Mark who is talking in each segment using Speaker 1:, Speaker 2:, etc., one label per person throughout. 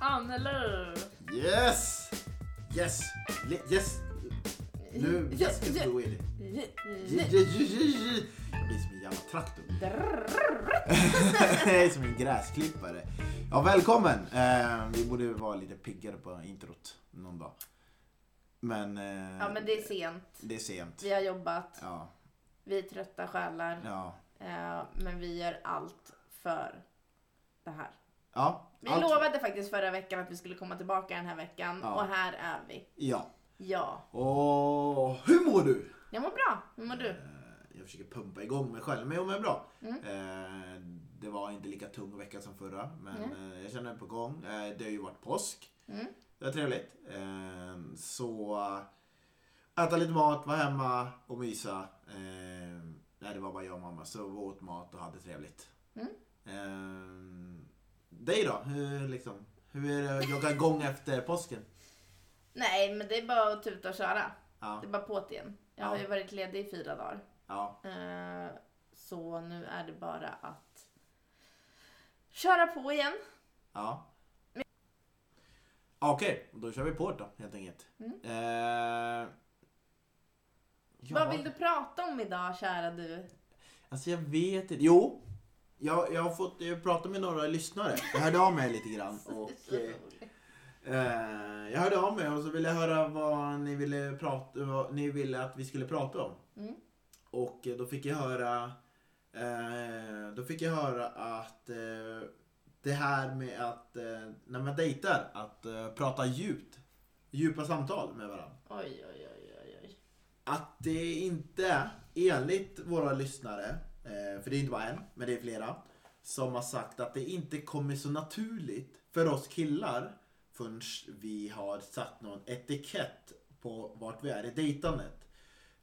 Speaker 1: Annelöv.
Speaker 2: Yes! Yes! Le- Yes! Nu, yes, yes, do it! J- j- j- j- j- Jag blir som en jävla traktor. Jag är som en gräsklippare. Ja, välkommen! Eh, vi borde vara lite piggare på introt någon dag. Men, eh,
Speaker 1: Ja men det är sent.
Speaker 2: det är sent.
Speaker 1: Vi har jobbat,
Speaker 2: Ja,
Speaker 1: vi är trötta själar.
Speaker 2: ja.
Speaker 1: Eh, men vi gör allt för det här.
Speaker 2: ja
Speaker 1: Vi
Speaker 2: allt-
Speaker 1: lovade faktiskt förra veckan att vi skulle komma tillbaka den här veckan
Speaker 2: Ja.
Speaker 1: och här är vi.
Speaker 2: Ja.
Speaker 1: Ja.
Speaker 2: Och hur mår du?
Speaker 1: Jag mår bra. Hur mår du?
Speaker 2: Eh, Jag försöker pumpa igång mig själv, men jag mår bra. Eh, Det var inte lika tung vecka som förra, men eh, jag känner mig på gång. Eh, Det har ju varit påsk.
Speaker 1: Mm.
Speaker 2: Det var trevligt. Eh, Så eh, äta lite mat, vara hemma och mysa. Eh, Nej, det var bara jag och mamma, så vi åt mat och hade trevligt.
Speaker 1: Mm.
Speaker 2: Eh, Dig då? Hur, liksom, hur är det att jogga igång efter påsken?
Speaker 1: Nej men det är bara att tuta och köra.
Speaker 2: Ja,
Speaker 1: Det är bara på't igen. Jag
Speaker 2: Ja.
Speaker 1: har ju varit ledig i fyra dagar.
Speaker 2: ja,
Speaker 1: Eh, Så nu är det bara att köra på igen.
Speaker 2: ja. Okej, då kör vi på det då helt enkelt.
Speaker 1: Mm.
Speaker 2: Eh, ja,
Speaker 1: Vad vill du prata om idag kära du?
Speaker 2: Alltså jag vet inte. Jo, jag, jag har fått jag prata med några lyssnare. Jag hörde av mig lite grann. Och,
Speaker 1: Så
Speaker 2: eh,
Speaker 1: roligt.
Speaker 2: eh, jag hörde av mig och så ville jag höra vad ni ville, prata, vad ni ville att vi skulle prata om.
Speaker 1: Mm.
Speaker 2: Och eh, då fick jag höra eh, Då fick jag höra att eh, Det här med att eh, När man dejtar att eh, prata djupt Djupa samtal med varandra
Speaker 1: Oj, oj, oj, oj, oj.
Speaker 2: Att det inte enligt våra lyssnare eh, För det är inte bara en men det är flera Som har sagt att det inte kommer så naturligt För oss killar Förrän vi har satt någon etikett På vart vi är i dejtandet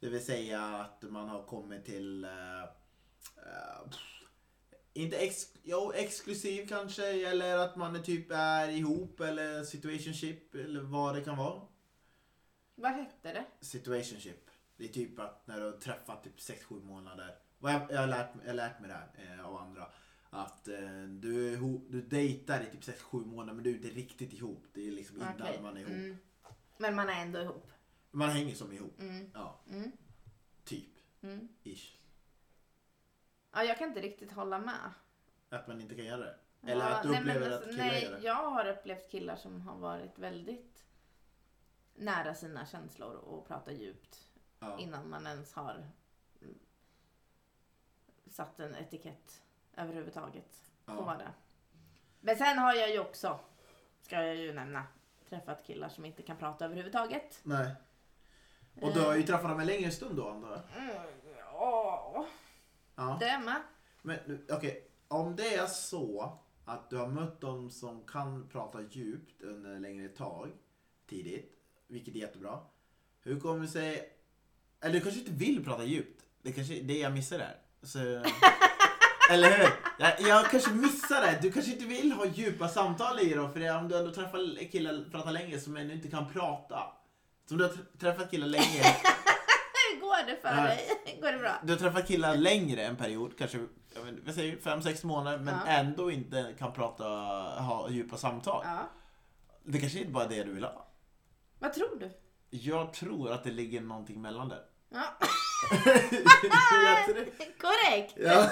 Speaker 2: Det vill säga att man har kommit till eh, eh, pff, inte ex, jo, exklusiv kanske eller att man är typ är ihop eller situationship eller vad det kan vara.
Speaker 1: Vad hette det?
Speaker 2: Situationship. Det är typ att när du har träffat typ 6-7 månader. Vad jag, jag, har lärt, jag har lärt mig det här eh, av andra. Att eh, du, är ihop- du dejtar i typ 6-7 månader men du är inte riktigt ihop. Det är liksom innan
Speaker 1: Okej.
Speaker 2: man är ihop.
Speaker 1: Mm. Men man är ändå ihop.
Speaker 2: Man hänger som ihop.
Speaker 1: Mm.
Speaker 2: Ja,
Speaker 1: Mm.
Speaker 2: typ.
Speaker 1: Mm.
Speaker 2: Ish.
Speaker 1: Ja, jag kan inte riktigt hålla med.
Speaker 2: Att man inte kan göra det. Eller
Speaker 1: ja,
Speaker 2: att du
Speaker 1: men
Speaker 2: upplever
Speaker 1: alltså,
Speaker 2: att killar
Speaker 1: nej,
Speaker 2: gör det.
Speaker 1: Jag har upplevt killar som har varit väldigt nära sina känslor och pratar djupt
Speaker 2: Ja.
Speaker 1: innan man ens har mm, satt en etikett överhuvudtaget på
Speaker 2: Ja.
Speaker 1: det. Men sen har jag ju också, ska jag ju nämna, träffat killar som inte kan prata överhuvudtaget.
Speaker 2: Nej. Och du har ju träffat dem en längre stund då antar jag?
Speaker 1: Ja,
Speaker 2: Mm, Ja.
Speaker 1: det är med.
Speaker 2: Men nu, okej, om det är så att du har mött dem som kan prata djupt under en längre tag tidigt, vilket är jättebra. Hur kommer det sig... Eller du kanske inte vill prata djupt? Det kanske det jag missar där. Så, eller hur? Jag, jag kanske missar det. Du kanske inte vill ha djupa samtal i dem för det, är om du ändå träffar killar prata länge som ännu inte kan prata. Som du har tr- träffat killar länge.
Speaker 1: Hur går det för
Speaker 2: Ja.
Speaker 1: dig? Går det bra?
Speaker 2: Du har träffat killar längre en period, kanske jag vet, vad säger, 5-6 månader, men
Speaker 1: Ja.
Speaker 2: ändå inte kan prata, ha djupa samtal.
Speaker 1: Ja.
Speaker 2: Det kanske inte bara är det du vill ha.
Speaker 1: Vad tror du?
Speaker 2: Jag tror att det ligger någonting mellan där.
Speaker 1: Ja.
Speaker 2: jag tror,
Speaker 1: Korrekt!
Speaker 2: ja.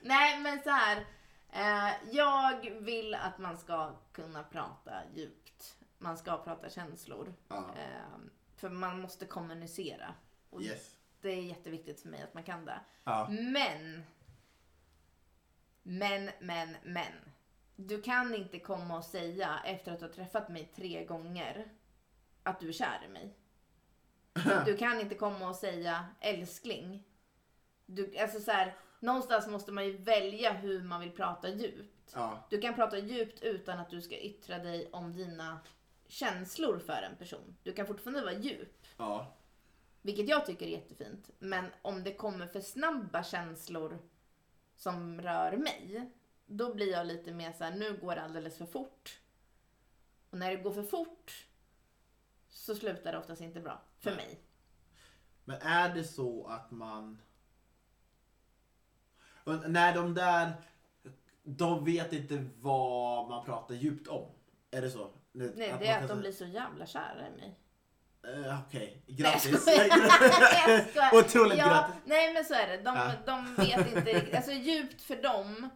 Speaker 1: Nej men så här. Eh, jag vill att man ska kunna prata djupt. Man ska prata känslor.
Speaker 2: Ja.
Speaker 1: Eh, för man måste kommunicera. Och
Speaker 2: Yes.
Speaker 1: Det är jätteviktigt för mig att man kan det.
Speaker 2: Ja.
Speaker 1: Men. Men, men, men. Du kan inte komma och säga efter att du har träffat mig tre gånger att du är kär i mig. Du kan inte komma och säga älskling. Du, alltså så här, någonstans måste man ju välja hur man vill prata djupt.
Speaker 2: Ja.
Speaker 1: Du kan prata djupt utan att du ska yttra dig om dina känslor för en person. Du kan fortfarande vara djup.
Speaker 2: Ja.
Speaker 1: Vilket jag tycker är jättefint. Men om det kommer för snabba känslor som rör mig, då blir jag lite mer så här, nu går det alldeles för fort. Och när det går för fort så slutar det oftast inte bra. För mig.
Speaker 2: Men är det så att man... Och när de där de vet inte vad man pratar djupt om. Är det så? Nej,
Speaker 1: Nej, det är att de blir så jävla kära i mig.
Speaker 2: Uh, Okej,
Speaker 1: Nej, jag
Speaker 2: grattis.
Speaker 1: skojar. Jag skojar.
Speaker 2: Otroligt
Speaker 1: ja,
Speaker 2: grattis.
Speaker 1: Nej men så är det. De,
Speaker 2: Ja.
Speaker 1: de vet inte riktigt. Alltså djupt för dem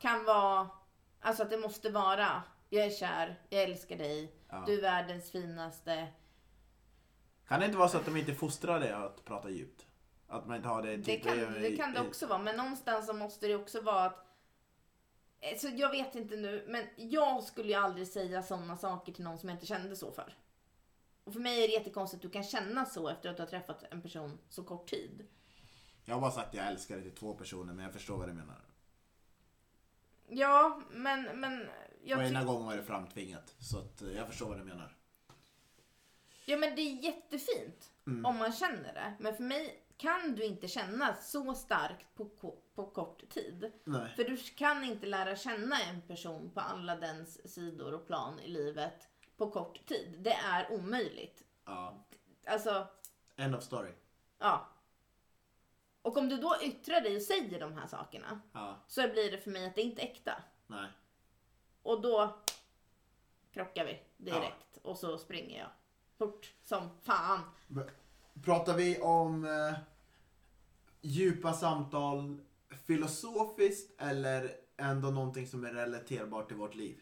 Speaker 1: kan vara, alltså att det måste vara, jag är kär, jag älskar dig,
Speaker 2: Ja.
Speaker 1: du är världens finaste.
Speaker 2: Kan det inte vara så att de inte fostrar det att prata djupt? Att man inte har det...
Speaker 1: Det
Speaker 2: typ
Speaker 1: kan
Speaker 2: i-
Speaker 1: det, kan det
Speaker 2: i-
Speaker 1: också vara, men någonstans så måste det också vara att Alltså jag vet inte nu, men jag skulle ju aldrig säga sådana saker till någon som jag inte kände så för. Och för mig är det jättekonstigt att du kan känna så efter att du har träffat en person så kort tid.
Speaker 2: Jag har bara sagt att jag älskar dig till två personer men jag förstår vad du menar.
Speaker 1: Ja, men, men jag
Speaker 2: och
Speaker 1: tycker
Speaker 2: ena gången var det framtvingat. Så att eh, jag förstår vad du menar.
Speaker 1: Ja men det är jättefint om man känner det. Men för mig kan du inte känna så starkt på, ko- på kort tid.
Speaker 2: Nej.
Speaker 1: För du kan inte lära känna en person på alla dens sidor och plan i livet på kort tid. Det är omöjligt.
Speaker 2: Ja.
Speaker 1: Alltså,
Speaker 2: End of story.
Speaker 1: ja. Och om du då yttrar dig och säger de här sakerna
Speaker 2: Ja.
Speaker 1: så blir det för mig att det inte är äkta.
Speaker 2: Nej.
Speaker 1: Och då krockar vi direkt och så springer jag fort som fan.
Speaker 2: B- Pratar vi om eh, djupa samtal filosofiskt eller ändå någonting som är relaterbart till vårt liv?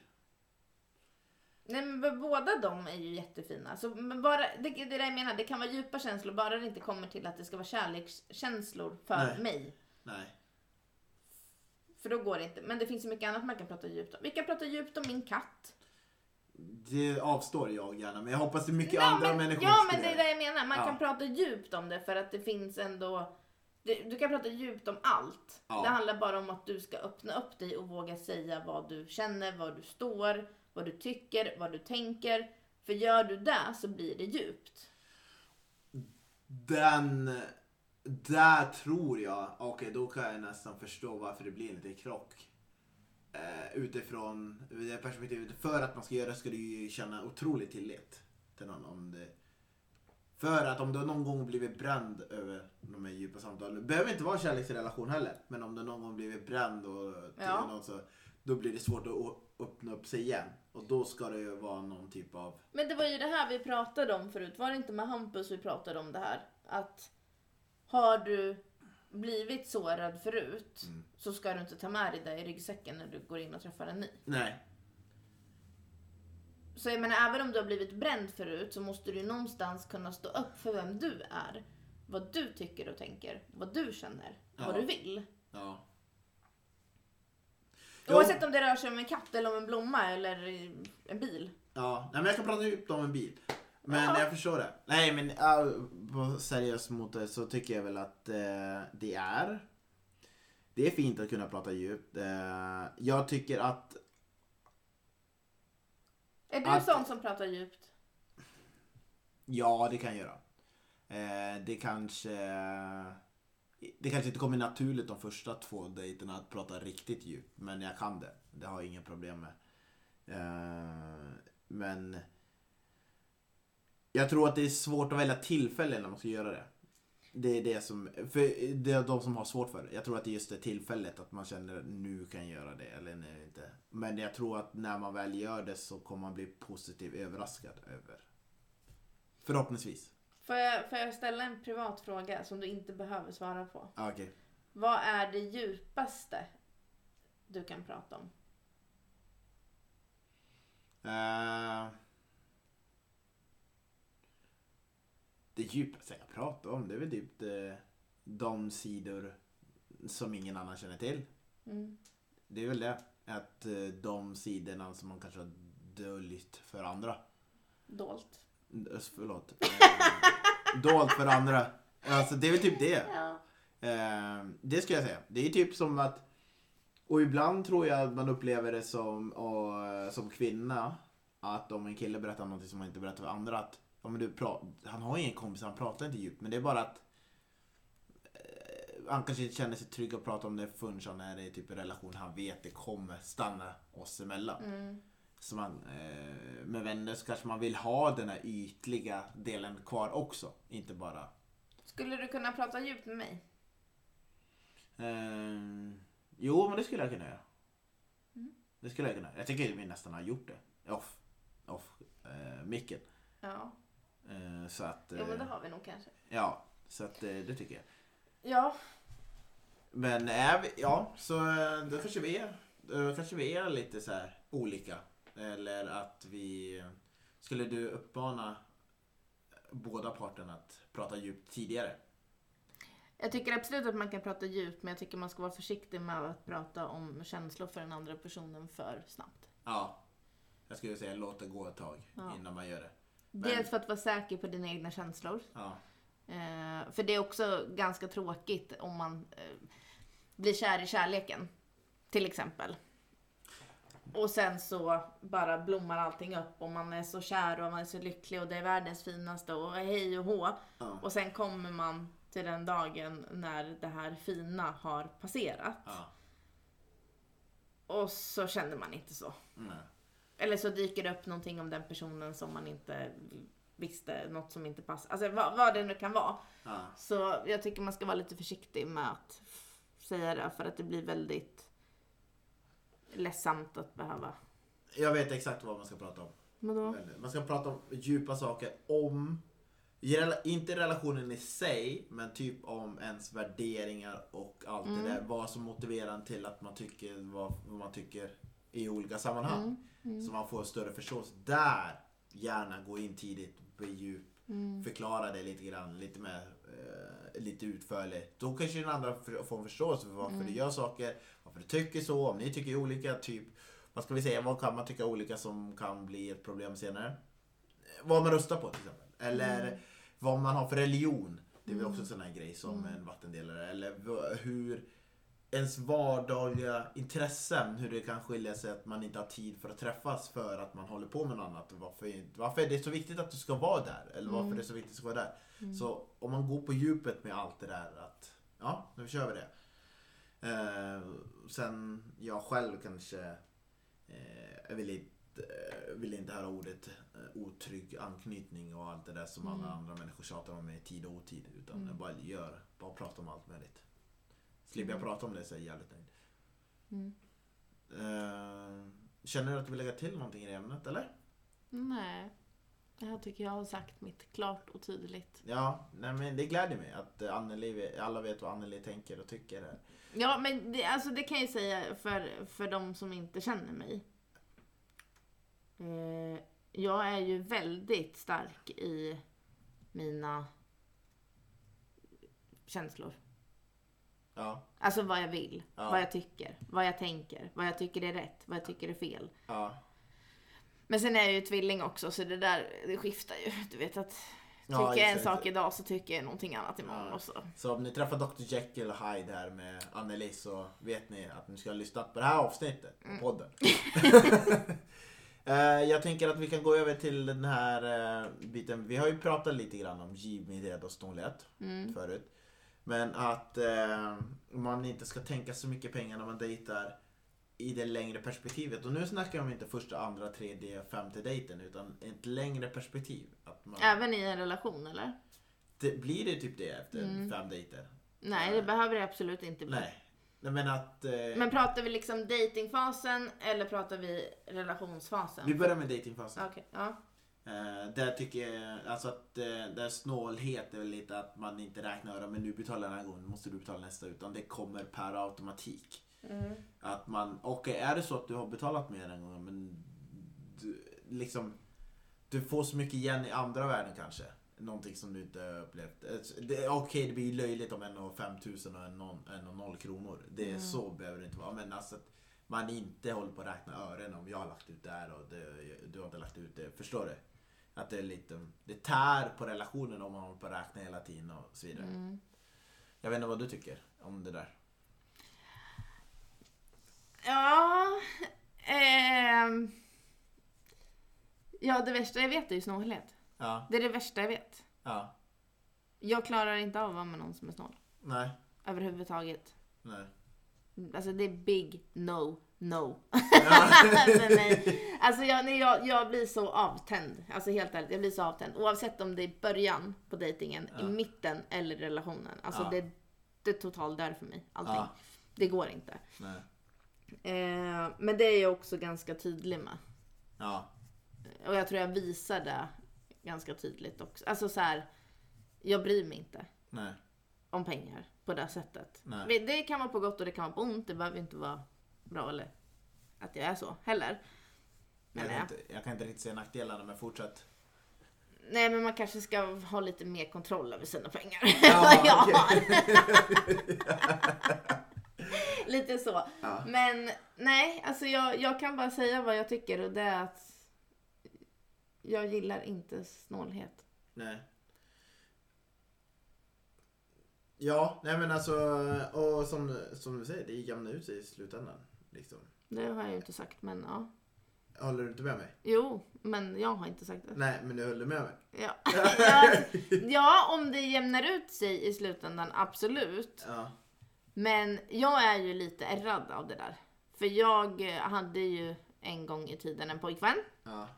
Speaker 1: Nej men b- båda de är ju jättefina. Så, men bara, det, det är det jag menar, det kan vara djupa känslor bara det inte kommer till att det ska vara kärlekskänslor för
Speaker 2: Nej.
Speaker 1: mig.
Speaker 2: Nej.
Speaker 1: För då går det inte. Men det finns ju mycket annat man kan prata djupt om. Vi kan prata djupt om min katt.
Speaker 2: Det avstår jag gärna men jag hoppas det är mycket
Speaker 1: Ja,
Speaker 2: andra
Speaker 1: men,
Speaker 2: människor
Speaker 1: ja
Speaker 2: som
Speaker 1: men det
Speaker 2: skulle
Speaker 1: är det jag menar, man
Speaker 2: Ja.
Speaker 1: kan prata djupt om det för att det finns ändå det, du kan prata djupt om allt.
Speaker 2: Ja.
Speaker 1: Det handlar bara om att du ska öppna upp dig och våga säga vad du känner, vad du står, vad du tycker, vad du tänker. För gör du det så blir det djupt.
Speaker 2: Den... Där tror jag, okej då kan jag nästan förstå varför det blir lite krock. Eh, utifrån ur det perspektivet, för att man ska göra det ska du ju känna otrolig tillit till någon. Om det, för att om du någon gång blivit bränd över de här djupa samtalen, det behöver inte vara en kärleksrelation heller, men om du någon gång blivit bränd och till
Speaker 1: Ja.
Speaker 2: någon så, då blir det svårt att å- öppna upp sig igen. Och då ska det ju vara någon typ av,
Speaker 1: Men det var ju det här vi pratade om förut. Var det inte med Hampus vi pratade om det här? Att har du blivit sårad förut
Speaker 2: Mm.
Speaker 1: så ska du inte ta med dig det i ryggsäcken när du går in och träffar en ny.
Speaker 2: nej,
Speaker 1: Så jag menar, även om du har blivit bränd förut så måste du ju någonstans kunna stå upp för vem du är. Vad du tycker och tänker, vad du känner, vad
Speaker 2: Ja.
Speaker 1: du vill.
Speaker 2: ja.
Speaker 1: Oavsett om det rör sig om en katt eller om en blomma eller en bil.
Speaker 2: Ja, nej, men jag kan prata djupt om en bil. Men
Speaker 1: Ja.
Speaker 2: jag förstår det. Nej men äh, på seriöst mot det så tycker jag väl att eh, det är Det är fint att kunna prata djupt. Eh, jag tycker att
Speaker 1: Är du
Speaker 2: Att-
Speaker 1: sån som pratar djupt?
Speaker 2: ja, det kan jag göra. Eh, det kanske eh, Det kanske inte kommer naturligt de första två dejterna att prata riktigt djupt. Men jag kan det. Det har jag inga problem med. Eh, men Jag tror att det är svårt att välja tillfällen när man ska göra det. Det är det som, för det är de som har svårt för det. Jag tror att det är just det tillfället att man känner nu kan jag göra det eller nu inte. Men jag tror att när man väl gör det så kommer man bli positivt överraskad över. Förhoppningsvis.
Speaker 1: Får jag, får jag ställa en privat fråga som du inte behöver svara på?
Speaker 2: Ah, Okej.
Speaker 1: Vad är det djupaste du kan prata om?
Speaker 2: Eh, det djupaste jag pratar om det är väl typ eh, de sidor som ingen annan känner till.
Speaker 1: Mm.
Speaker 2: Det är väl det. Att eh, de sidorna som man kanske har döljt för andra.
Speaker 1: Dolt.
Speaker 2: Eh, Förlåt. Eh, Dolt för andra. Alltså det är väl typ det.
Speaker 1: Ja.
Speaker 2: Eh, Det skulle jag säga. Det är typ som att... Och ibland tror jag att man upplever det som, och, eh, som kvinna. Att om en kille berättar någonting som han inte berättar för andra. Att ja, men du pra- han har ingen kompis, han pratar inte djupt. Men det är bara att... eh, Han kanske inte känner sig trygg att prata om det förrän han är i typ en relation han vet det kommer stanna oss emellan.
Speaker 1: Mm.
Speaker 2: Så man, eh, med vänner så kanske man vill ha den här ytliga delen kvar också. Inte bara...
Speaker 1: Skulle du kunna prata djupt med mig?
Speaker 2: Eh, jo, men det skulle jag kunna göra.
Speaker 1: Mm.
Speaker 2: Det skulle jag kunna. Jag tycker vi nästan har gjort det. Off. Off. Eh, micken.
Speaker 1: Ja,
Speaker 2: Eh, så att...
Speaker 1: jo men det
Speaker 2: eh,
Speaker 1: har vi nog kanske.
Speaker 2: ja. Så att eh, det tycker jag.
Speaker 1: Ja,
Speaker 2: Men är vi, ja, så eh, då kanske vi är, då kanske vi är lite så här olika. Eller att vi... Skulle du uppmana båda parterna att prata djupt tidigare?
Speaker 1: jag tycker absolut att man kan prata djupt men jag tycker man ska vara försiktig med att prata om känslor för den andra personen för snabbt.
Speaker 2: Ja. Jag skulle säga låt det gå ett tag
Speaker 1: Ja.
Speaker 2: innan man gör det.
Speaker 1: Dels för att vara säker på dina egna känslor.
Speaker 2: Ja.
Speaker 1: Eh, för det är också ganska tråkigt om man eh, blir kär i kärleken. Till exempel. Och sen så bara blommar allting upp och man är så kär och man är så lycklig och det är världens finaste och hej och hå.
Speaker 2: Ja.
Speaker 1: Och sen kommer man till den dagen när det här fina har passerat.
Speaker 2: ja.
Speaker 1: Och så känner man inte så.
Speaker 2: Mm.
Speaker 1: Eller så dyker det upp någonting om den personen som man inte visste, något som inte passar. Alltså vad, vad det nu kan vara.
Speaker 2: Ja.
Speaker 1: Så jag tycker man ska vara lite försiktig med att f- säga det för att det blir väldigt ledsamt att behöva.
Speaker 2: Jag vet exakt vad man ska prata om.
Speaker 1: Vadå?
Speaker 2: Men Man ska prata om djupa saker om, i rela- inte relationen i sig, men typ om ens värderingar och allt det där. Vad som motiverar en till att man tycker vad, vad man tycker i olika sammanhang. Så man får större förståelse. Där, gärna gå in tidigt, bli djup, förklara det lite grann, lite mer, eh, lite utförligt. Då kanske den andra för- får en förståelse för varför du gör saker, varför du tycker så, om ni tycker olika, typ vad ska vi säga, vad kan man tycka olika som kan bli ett problem senare? vad man röstar på till exempel. Eller vad man har för religion. Det är väl också en sån här grej som en vattendelare. Eller v- hur ens vardagliga intressen, hur det kan skilja sig att man inte har tid för att träffas för att man håller på med något annat. Och Varför, inte- varför är det så viktigt att du ska vara där? Eller varför är det så viktigt att du ska vara där? Så om man går på djupet med allt det där att ja, nu kör vi det. Eh, sen jag själv kanske Eh, jag vill inte, eh, vill inte höra ordet eh, otrygg anknytning och allt det där som alla andra människor tjatar om i tid och otid. Utan jag bara gör, bara prata om allt möjligt. Slipper jag prata om det så är jag jävligt nöjd.
Speaker 1: Mm.
Speaker 2: Eh, känner du att du vill lägga till någonting i det ämnet eller?
Speaker 1: Nej. Det här tycker jag har sagt mitt klart och tydligt.
Speaker 2: Ja, nej men det gläder mig att eh, Anneli, alla vet vad Anneli tänker och tycker. Här.
Speaker 1: Ja men det, alltså det kan jag ju säga för, för de som inte känner mig. Eh, jag är ju väldigt stark i mina känslor.
Speaker 2: Ja,
Speaker 1: Alltså vad jag vill,
Speaker 2: Ja.
Speaker 1: vad jag tycker, vad jag tänker, vad jag tycker är rätt, vad jag tycker är fel.
Speaker 2: ja.
Speaker 1: Men sen är jag ju tvilling också så det där det skiftar ju. Du vet att tycker
Speaker 2: Ja,
Speaker 1: jag en
Speaker 2: exakt.
Speaker 1: sak idag så tycker jag någonting annat imorgon
Speaker 2: Ja.
Speaker 1: och så.
Speaker 2: Så om ni träffar Dr Jekyll och Hyde här med Anneli så vet ni att ni ska lyssna på det här avsnittet
Speaker 1: Mm.
Speaker 2: på podden. Eh, jag tänker att vi kan gå över till den här eh, biten. Vi har ju pratat lite grann om givmildhet och snålhet
Speaker 1: Mm.
Speaker 2: förut. Men att eh, man inte ska tänka så mycket pengar när man dejtar i det längre perspektivet. Och nu snackar jag om inte första, andra, tredje, femte dejten utan ett längre perspektiv. Att man,
Speaker 1: Även i en relation eller?
Speaker 2: det, blir det typ det efter
Speaker 1: Mm.
Speaker 2: fem dejter?
Speaker 1: Nej det behöver det absolut inte bli.
Speaker 2: Nej. Nej men att... Eh,
Speaker 1: Men pratar vi liksom datingfasen eller pratar vi relationsfasen?
Speaker 2: vi börjar med datingfasen.
Speaker 1: Okej, ja.
Speaker 2: Eh, där tycker jag, alltså att eh, där snålhet är väl lite att man inte räknar öra, men nu betalar jag den här gången, måste du betala nästa. Utan det kommer per automatik. Att man, okej är det så att du har betalat mer en gång, men du, liksom, du får så mycket igen i andra världen kanske. Någonting som du inte har upplevt. Eh, det- Okej, det blir löjligt om en har 5 000 och en har- en har noll kronor. Det är Så behöver det inte vara. Men alltså att man inte håller på att räkna ören om jag har lagt ut det här och det, du har inte lagt ut det. Förstår du? Att det är lite, det tär på relationen om man håller på att räkna hela tiden och så vidare. Jag vet inte vad du tycker om det där.
Speaker 1: Ja. Ehm. Ja det värsta jag vet är ju snålhet.
Speaker 2: Ja,
Speaker 1: Det är det värsta jag vet.
Speaker 2: ja,
Speaker 1: Jag klarar inte av att vara med någon som är snål.
Speaker 2: nej,
Speaker 1: Överhuvudtaget.
Speaker 2: nej.
Speaker 1: Alltså det är big no, no. alltså, nej. alltså jag, nej, jag, jag blir så avtänd. Alltså helt ärligt, jag blir så avtänd. Oavsett om det är i början på dejtingen, i mitten eller i relationen. Alltså
Speaker 2: Ja.
Speaker 1: det, det är total dör för mig. Allting.
Speaker 2: Ja.
Speaker 1: Det går inte.
Speaker 2: nej.
Speaker 1: Eh, men det är jag också ganska tydlig med.
Speaker 2: Ja.
Speaker 1: Och jag tror jag visar det ganska tydligt också. Alltså så här, jag bryr mig inte
Speaker 2: Nej.
Speaker 1: om pengar på det sättet.
Speaker 2: Nej.
Speaker 1: Men Det kan vara på gott och det kan vara på ont. Det behöver inte vara bra eller att jag är så heller. Men
Speaker 2: jag,
Speaker 1: ja.
Speaker 2: kan inte, jag kan inte riktigt se nackdelarna men fortsätt.
Speaker 1: Nej men man kanske ska ha lite mer kontroll över sina pengar.
Speaker 2: Ja,
Speaker 1: än vad jag
Speaker 2: okej.
Speaker 1: har. lite så.
Speaker 2: Ja.
Speaker 1: Men nej, alltså jag, jag kan bara säga vad jag tycker och det är att jag gillar inte snålhet.
Speaker 2: Nej. Ja, nej men alltså och som, som du säger, det jämnar ut sig i slutändan. Liksom.
Speaker 1: Det har jag ju inte sagt men ja.
Speaker 2: Håller du inte med mig?
Speaker 1: Jo, men jag har inte sagt det.
Speaker 2: Nej, men du höll med mig.
Speaker 1: Ja. ja, ja, om det jämnar ut sig i slutändan, absolut.
Speaker 2: Ja.
Speaker 1: Men jag är ju lite ärrad av det där. För jag eh, hade ju en gång i tiden en pojkvän
Speaker 2: Ja.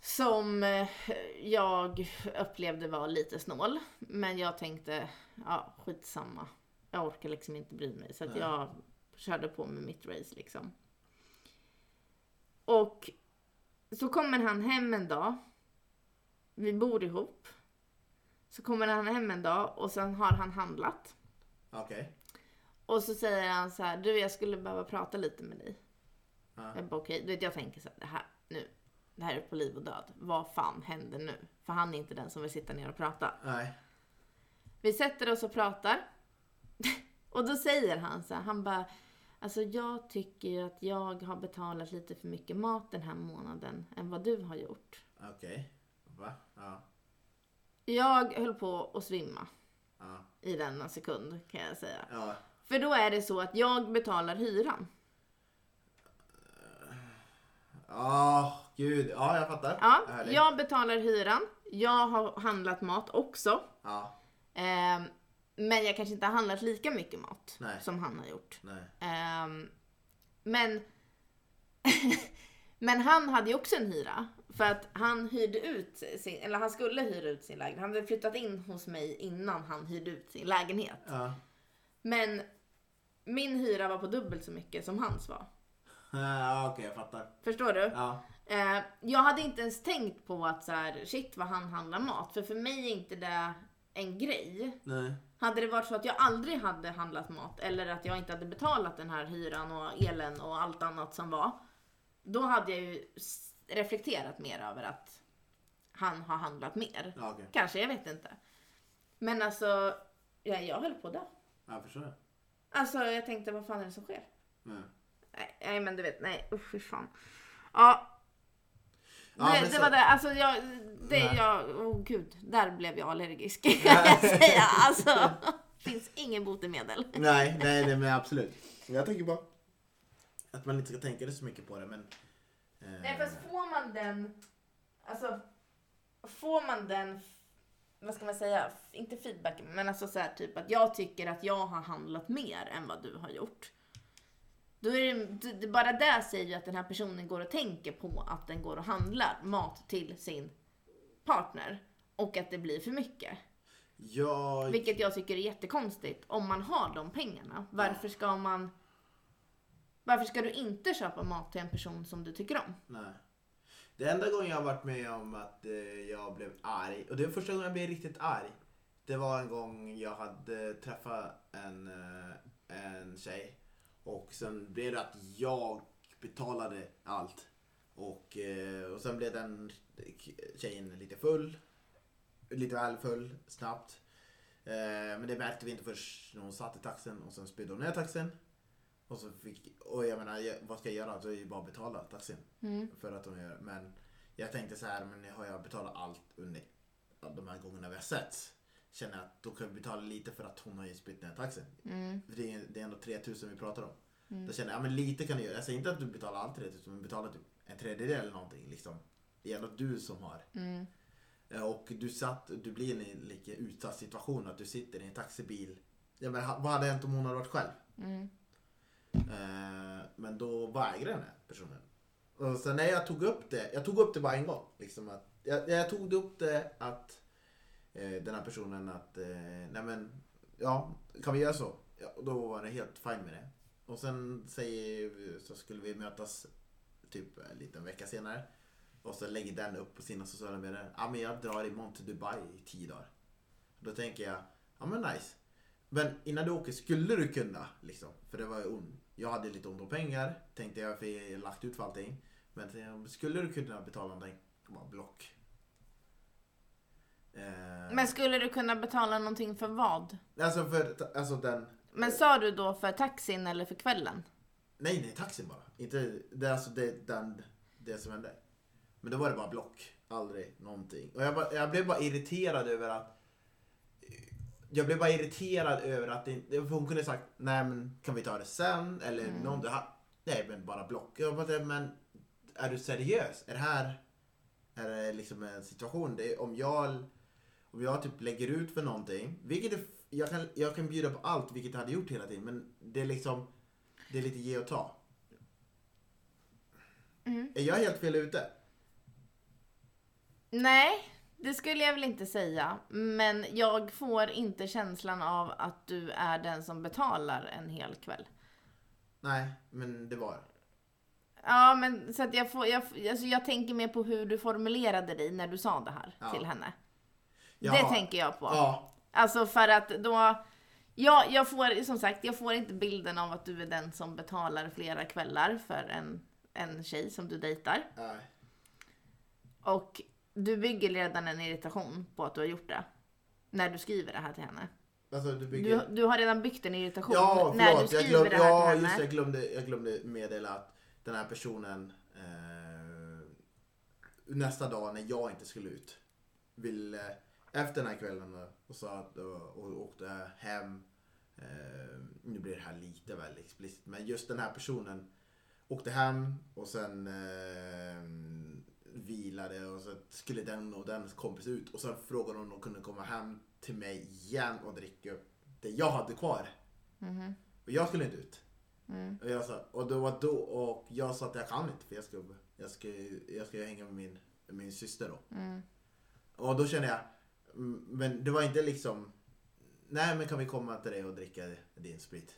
Speaker 1: som eh, jag upplevde var lite snål. Men jag tänkte, ja skitsamma. Jag orkar liksom inte bry mig. Så att
Speaker 2: Nej.
Speaker 1: jag körde på med mitt race liksom. Och så kommer han hem en dag. Vi bor ihop. Så kommer han hem en dag och sen har han handlat.
Speaker 2: Okej.
Speaker 1: Och så säger han så här, du jag skulle behöva prata lite med dig.
Speaker 2: Ja.
Speaker 1: Jag bara okej, du vet jag tänker så här, det här nu, det här är på liv och död. Vad fan händer nu? För han är inte den som vill sitta ner och prata.
Speaker 2: Nej.
Speaker 1: Vi sätter oss och pratar. och då säger han så här, han bara, alltså jag tycker ju att jag har betalat lite för mycket mat den här månaden än vad du har gjort.
Speaker 2: Okej. Va? Ja.
Speaker 1: Jag höll på att svimma
Speaker 2: Ja.
Speaker 1: i denna sekund kan jag säga.
Speaker 2: Ja.
Speaker 1: För då är det så att jag betalar hyran.
Speaker 2: Ja, gud. Ja, jag fattar.
Speaker 1: Ja,
Speaker 2: Härligt.
Speaker 1: jag betalar hyran. Jag har handlat mat också.
Speaker 2: Ja.
Speaker 1: Ehm, men jag kanske inte har handlat lika mycket mat
Speaker 2: Nej.
Speaker 1: som han har gjort.
Speaker 2: Nej.
Speaker 1: Ehm, men, men han hade ju också en hyra. För att han hyrde ut sin, eller han skulle hyra ut sin lägenhet. Han hade flyttat in hos mig innan han hyrde ut sin lägenhet.
Speaker 2: Ja.
Speaker 1: Men min hyra var på dubbelt så mycket som hans var.
Speaker 2: Ja, okej, jag fattar.
Speaker 1: Förstår du?
Speaker 2: Ja.
Speaker 1: Eh, jag hade inte ens tänkt på att så här, shit vad han handlar mat. För för mig är inte det en grej.
Speaker 2: Nej.
Speaker 1: Hade det varit så att jag aldrig hade handlat mat eller att jag inte hade betalat den här hyran och elen och allt annat som var. Då hade jag ju s- reflekterat mer över att han har handlat mer.
Speaker 2: Ja, okej.
Speaker 1: Kanske, jag vet inte. Men alltså, ja, jag höll på då.
Speaker 2: Jag förstår det.
Speaker 1: Alltså jag tänkte, vad fan är det som sker?
Speaker 2: Nej.
Speaker 1: Nej, nej men du vet, nej usch fy fan. Ja.
Speaker 2: Ja,
Speaker 1: det,
Speaker 2: men
Speaker 1: det
Speaker 2: så-
Speaker 1: var det, alltså jag, det
Speaker 2: Nej.
Speaker 1: jag, oh gud, där blev jag allergisk kan jag säga. Alltså, finns ingen botemedel.
Speaker 2: Nej, nej, nej, men absolut. Jag tänker bara att man inte ska tänka så mycket på det, men... eh,
Speaker 1: Nej fast får man den, alltså får man den, f- vad ska man säga, F- inte feedbacken men alltså så här typ att jag tycker att jag har handlat mer än vad du har gjort. Då är det, d- d- bara det säger ju att den här personen går och tänker på att den går och handlar mat till sin partner och att det blir för mycket.
Speaker 2: Jag...
Speaker 1: Vilket jag tycker är jättekonstigt om man har de pengarna. Varför ska man varför ska du inte köpa mat till en person som du tycker om?
Speaker 2: Nej. Det enda gången jag har varit med om att eh, jag blev arg, och det var första gången jag blev riktigt arg. Det var en gång jag hade träffat en, eh, en tjej och sen blev det att jag betalade allt. Och, eh, och sen blev den tjejen lite full, lite väl full snabbt. Eh, Men det märkte vi inte först när hon satt i taxen och sen spydde hon ner taxen. Och så fick, och jag menar, jag- vad ska jag göra? Då är det ju bara att betala taxin. För att de gör, men jag tänkte så här, men har jag betalat allt under de här gångerna vi har sett Känner jag att då kan jag betala lite för att hon har ju spytt ner taxin. För det, är, det är ändå 3000 vi pratar om. Då känner jag, ja men lite kan du göra. Jag säger inte att du betalar allt 3000, men betala typ en tredjedel eller någonting liksom. Det är ändå du som har.
Speaker 1: Mm,
Speaker 2: Eh, Och du satt, du blir i en lika utsatt situation att du sitter i en taxibil. Ja, men ha- vad hade hänt om hon hade varit själv?
Speaker 1: mm.
Speaker 2: Eh, Men då vägrade den här personen. Och sen när jag tog upp det, jag tog upp det bara en gång. Liksom att, jag, jag tog upp det att eh, den här personen att, eh, nej men, ja, kan vi göra så? Ja, och då var det helt fine med det. Och sen säger, vi- så skulle vi mötas typ en liten vecka senare. Och så lägger den upp på sina sociala medier. Ja men jag drar imorgon till Dubai i tio dagar. Då tänker jag, ja men nice. Men innan du åker, skulle du kunna? Liksom, för det var ju ont. Jag hade lite ont om pengar, tänkte jag, för jag har lagt ut för allting. Men jag tänkte, skulle du kunna betala någonting? Jag bara, block. Eh,
Speaker 1: Men skulle du kunna betala någonting för vad?
Speaker 2: Alltså för, alltså den...
Speaker 1: Men sa du då för taxin eller för kvällen?
Speaker 2: Nej, nej, taxin bara. Inte, det är alltså det, den, det som hände. Men då var det bara block. Aldrig någonting. Och jag, bara, jag blev bara irriterad över att... Jag blev bara irriterad över att det, inte- för hon kunde sagt nej men kan vi ta det sen? Eller mm. någon, ha- nej men bara block. Jag bara, men är du seriös? Är det här är det liksom en situation? Det är, om jag om jag typ lägger ut för någonting, vilket är, jag, kan, jag kan bjuda på allt, vilket jag hade gjort hela tiden, men det är liksom, det är lite ge och ta.
Speaker 1: Mm.
Speaker 2: Är jag helt fel ute?
Speaker 1: Nej, det skulle jag väl inte säga. Men jag får inte känslan av att du är den som betalar en hel kväll.
Speaker 2: Nej, men det var
Speaker 1: Ja, men så att jag får, jag, alltså jag tänker mer på hur du formulerade dig när du sa det här
Speaker 2: Ja.
Speaker 1: till henne.
Speaker 2: Ja.
Speaker 1: Det tänker jag på.
Speaker 2: Ja,
Speaker 1: Alltså för att då, ja, jag får, som sagt, jag får inte bilden av att du är den som betalar flera kvällar för en, en tjej som du dejtar.
Speaker 2: nej.
Speaker 1: Och du bygger redan en irritation på att du har gjort det. När du skriver det här till henne.
Speaker 2: Alltså du bygger...
Speaker 1: Du, du har redan byggt en irritation
Speaker 2: ja,
Speaker 1: när du
Speaker 2: förlåt.
Speaker 1: skriver
Speaker 2: Jag, glöm,
Speaker 1: det här
Speaker 2: ja,
Speaker 1: till
Speaker 2: just, det,
Speaker 1: henne.
Speaker 2: jag, glömde, jag glömde meddela att den här personen eh, nästa dag när jag inte skulle ut ville, efter den här kvällen eh, och sa att, och, och åkte hem. Eh, nu blir det här lite väl explicit men just den här personen åkte hem och sen eh, vilade och så skulle den och den kompis ut och sen frågade hon om de kunde komma hem till mig igen och dricka upp det jag hade kvar.
Speaker 1: Mhm.
Speaker 2: Och jag skulle inte ut.
Speaker 1: Mm.
Speaker 2: Och, jag sa, och det var då och jag sa att jag kan inte för jag ska, jag ska, jag ska hänga med min, min syster då.
Speaker 1: Mm.
Speaker 2: Och då kände jag, mm, men det var inte liksom, nej men kan vi komma till dig och dricka din sprit?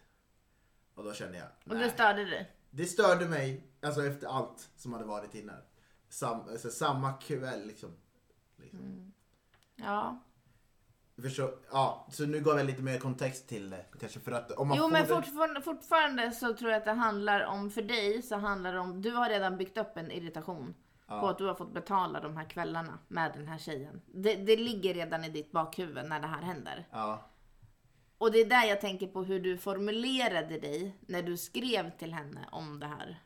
Speaker 2: Och då kände jag,
Speaker 1: Och
Speaker 2: nej.
Speaker 1: det störde dig.
Speaker 2: Det störde mig, alltså efter allt som hade varit innan. Sam, alltså, samma kväll liksom. liksom.
Speaker 1: Mm. Ja.
Speaker 2: Förstå, ja, så nu gav jag lite mer kontext till det. Kanske för att om man
Speaker 1: Jo
Speaker 2: får
Speaker 1: men
Speaker 2: det-
Speaker 1: fortfarande, fortfarande så tror jag att det handlar om, för dig så handlar det om, du har redan byggt upp en irritation på att du har fått betala de här kvällarna med den här tjejen. Det, det ligger redan i ditt bakhuvud när det här händer.
Speaker 2: Ja,
Speaker 1: Och det är där jag tänker på hur du formulerade dig när du skrev till henne om det här.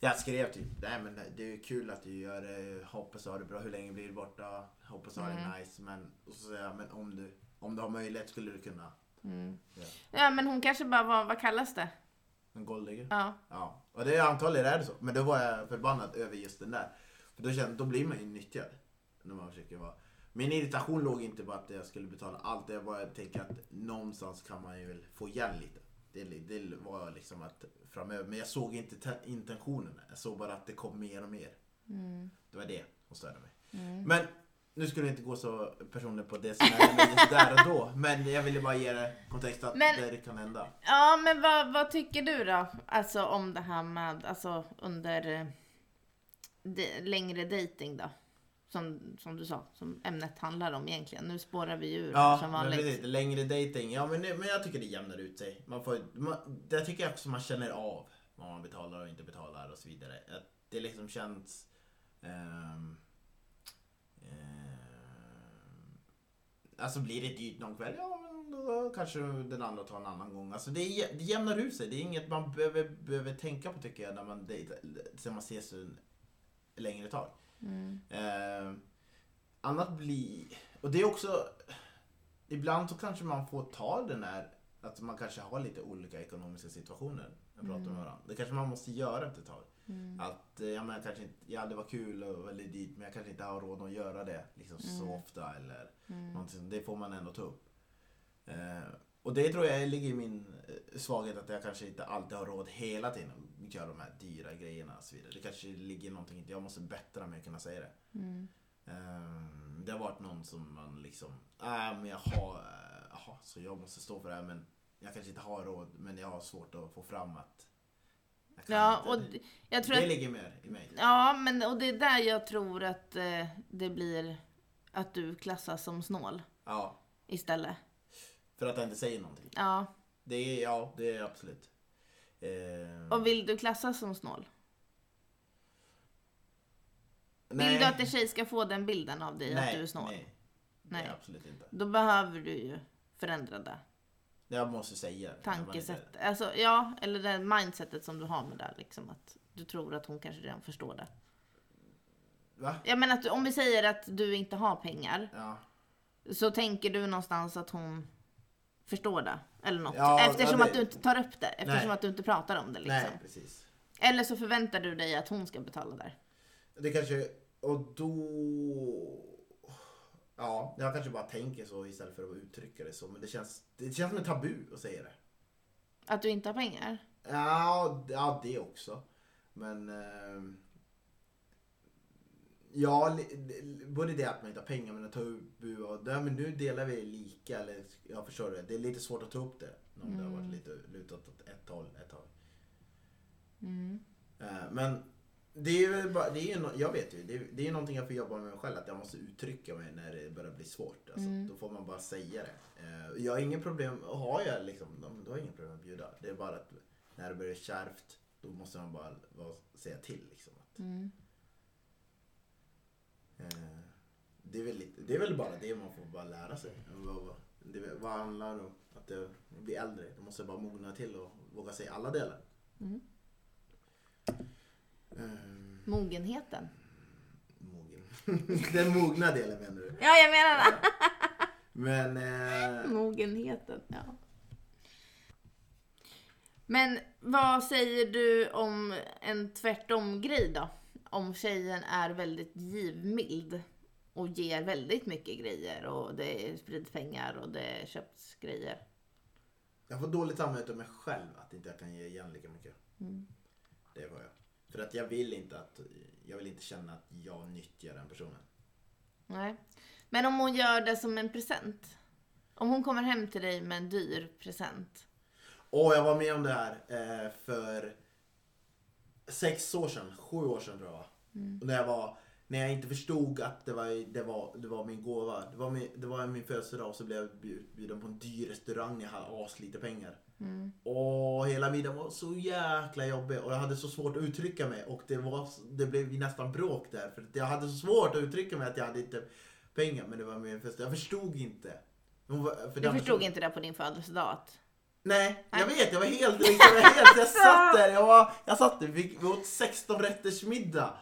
Speaker 2: jag skrev typ, nej men det är kul att du gör det, hoppas du har det bra, hur länge blir du borta? Hoppas du har det nice, men, och så säger jag, men om du, om du har möjlighet skulle du kunna. Ja.
Speaker 1: Ja men hon kanske bara var, vad kallas det?
Speaker 2: En golddigger?
Speaker 1: Ja.
Speaker 2: Ja, och det är antagligen är det så. Men då var jag förbannad över just den där. För då kände då blir man ju nyttjad. När man försöker vara... Min irritation låg inte på att jag skulle betala allt. Jag bara tänkte att någonstans kan man ju väl få igen lite. Det, det var liksom att framöver. Men jag såg inte te- intentionen. Jag såg bara att det kom mer och mer. Det var det som störde mig. Men nu skulle det inte gå så personligt på det som hände just där och då. Men jag ville bara ge det kontext att
Speaker 1: Men-
Speaker 2: det kan hända.
Speaker 1: Ja, men vad, vad tycker du då? Alltså om det här med, alltså under eh, de, längre dating då? Som, som du sa, som ämnet handlar om egentligen. Nu spårar vi ur
Speaker 2: Ja,
Speaker 1: som
Speaker 2: men
Speaker 1: vanligt.
Speaker 2: precis. Längre dating. Ja, men, men jag tycker det jämnar ut sig. Man får, man, jag tycker också man känner av vad man betalar och inte betalar och så vidare. Att det liksom känns... ehm, ehm, alltså blir det dyrt någon kväll, ja men då kanske den andra tar en annan gång. Alltså det, är- det jämnar ut sig. Det är inget man behöver, behöver tänka på tycker jag när man, dejtar- sen man ses en längre tag.
Speaker 1: Mm,
Speaker 2: Ehm, annat blir... Och det är också... Ibland så kanske man får ta den här att man kanske har lite olika ekonomiska situationer när man pratar med varandra. Det kanske man måste göra efter ett tag. Att eh, ja, men jag kanske inte, ja, det var kul och väldigt dyrt men jag kanske inte har råd att göra det liksom, så ofta. Eller någonting. Det får man ändå ta upp. Eh, och det tror jag ligger i min eh, svaghet att jag kanske inte alltid har råd hela tiden att göra de här dyra grejerna och så vidare. Det kanske ligger någonting i att jag måste bättra mig att kunna säga det.
Speaker 1: mm.
Speaker 2: Ehm, eh, Det har varit någon som man liksom, äh, men jag har, jaha, så jag måste stå för det här men jag kanske inte har råd men jag har svårt att få fram att jag kan
Speaker 1: Ja,
Speaker 2: inte.
Speaker 1: och d- jag tror
Speaker 2: det
Speaker 1: att
Speaker 2: ligger mer i mig.
Speaker 1: Ja, men och det är där jag tror att eh, det blir att du klassas som snål
Speaker 2: Ja,
Speaker 1: istället.
Speaker 2: för att jag inte säger någonting.
Speaker 1: Ja.
Speaker 2: Det är, ja, det är absolut. Eh,
Speaker 1: Och vill du klassas som snål? Vill
Speaker 2: nej,
Speaker 1: du att en tjej ska få den bilden av dig, att du är snål?
Speaker 2: Nej, nej.
Speaker 1: Nej.
Speaker 2: Det är absolut inte.
Speaker 1: Då behöver du ju förändrade
Speaker 2: Jag måste säga det.
Speaker 1: tankesätt. Alltså, ja, eller det mindsetet som du har med det. här, Liksom, att du tror att hon kanske redan förstår det.
Speaker 2: Va?
Speaker 1: Jag menar, att, du- om vi säger att du inte har pengar,
Speaker 2: Ja.
Speaker 1: så tänker du någonstans att hon förstår det. Eller något.
Speaker 2: Ja,
Speaker 1: eftersom
Speaker 2: ja, det-
Speaker 1: att du inte tar upp det. Eftersom
Speaker 2: Nej.
Speaker 1: att du inte pratar om det. Liksom.
Speaker 2: Nej, precis.
Speaker 1: Eller så förväntar du dig att hon ska betala där.
Speaker 2: Det kanske, och då... Ja, jag kanske bara tänker så istället för att uttrycka det så. Men det känns, det känns som ett tabu att säga det.
Speaker 1: Att du inte har pengar.
Speaker 2: Ja, d- ja det också. Men... ehm, ja, li- li- både det att man inte har pengar men att ta upp bu och där, men nu delar vi lika. Eller, jag förstår det. Det är lite svårt att ta upp det. Om det har varit lite lutat åt ett håll ett tag.
Speaker 1: Mm.
Speaker 2: Eh, Men det är väl bara, det är ju, no- jag vet ju, det är, det är ju någonting jag får jobba med mig själv att jag måste uttrycka mig när det börjar bli svårt. Alltså, Då får man bara säga det. Eh, Jag har inga problem, och har jag liksom, då har jag inga problem att bjuda. Det är bara att när det börjar kärvt då måste man bara vara- säga till liksom. Att,
Speaker 1: Mm.
Speaker 2: Eh, det, är väl lite, det är väl bara det man får bara lära sig. Vad- vad- Det, är- vad handlar det om? Att jag blir äldre. Då måste jag bara mogna till och våga säga alla delar. Ehm,
Speaker 1: Mogenheten.
Speaker 2: mogen. Den mogna delen menar du?
Speaker 1: Ja, jag menar det.
Speaker 2: Men... Eh,
Speaker 1: Mogenheten, ja. Men vad säger du om en tvärtom-grej då? Om tjejen är väldigt givmild och ger väldigt mycket grejer och det är sprids pengar och det köps grejer.
Speaker 2: jag får dåligt samvete med mig själv att inte jag kan ge igen lika mycket.
Speaker 1: Mm.
Speaker 2: Det får jag. För att jag vill inte att... Jag vill inte känna att jag nyttjar den personen.
Speaker 1: Nej. Men om hon gör det som en present? Om hon kommer hem till dig med en dyr present?
Speaker 2: Åh, jag var med om det här eh, för sex år sedan, sju år sedan tror jag va? Och när jag var. När jag inte förstod att det var, det var, det var min gåva. Det var min, det var min födelsedag och så blev jag bjud- bjuden på en dyr restaurang när jag hade aslite pengar.
Speaker 1: Mm.
Speaker 2: Och hela middagen var så jäkla jobbig och jag hade så svårt att uttrycka mig och det, var, det blev ju nästan bråk där för att jag hade så svårt att uttrycka mig att jag hade inte pengar men det var min födelsedag. Jag förstod inte. Hon var- för
Speaker 1: Du
Speaker 2: den
Speaker 1: förstod
Speaker 2: personen-
Speaker 1: inte det på din födelsedag? att-
Speaker 2: Nej, jag vet. Jag var helt... Jag, var helt, jag satt där. Jag, var, jag satt där. Vi, vi åt 16 rätters middag.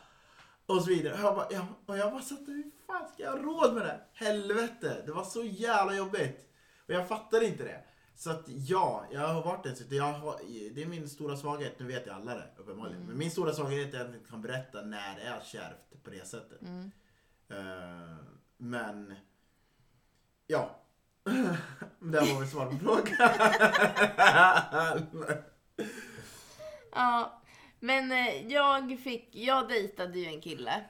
Speaker 2: Och så vidare. Och jag bara, jag, och jag bara satt där. Hur fan ska jag ha råd med det? Helvete. Det var så jävla jobbigt. Och jag fattade inte det. Så att ja, jag har varit en sån- jag har, Det är min stora svaghet. Nu vet jag alla det uppenbarligen. Men min stora svaghet är att jag inte kan berätta när det är kärvt på det sättet. Eh, men... Ja. det var väl svar på frågan.
Speaker 1: Ja, men eh, jag fick, jag dejtade ju en kille.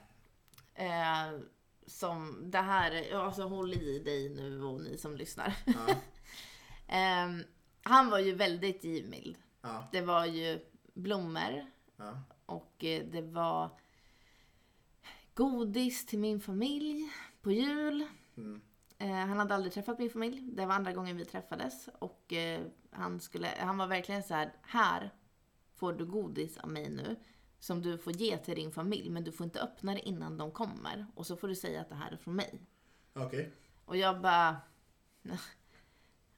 Speaker 1: Eh, som det här, alltså håll i dig nu och ni som lyssnar.
Speaker 2: Ja.
Speaker 1: Ehm, han var ju väldigt givmild.
Speaker 2: Ja,
Speaker 1: Det var ju blommor
Speaker 2: ja,
Speaker 1: och eh, det var godis till min familj på jul.
Speaker 2: Mm.
Speaker 1: Eh, han hade aldrig träffat min familj. Det var andra gången vi träffades och eh, han, skulle, han var verkligen så här, här får du godis av mig nu som du får ge till din familj men du får inte öppna det innan de kommer och så får du säga att det här är från mig.
Speaker 2: okej.
Speaker 1: Och jag bara...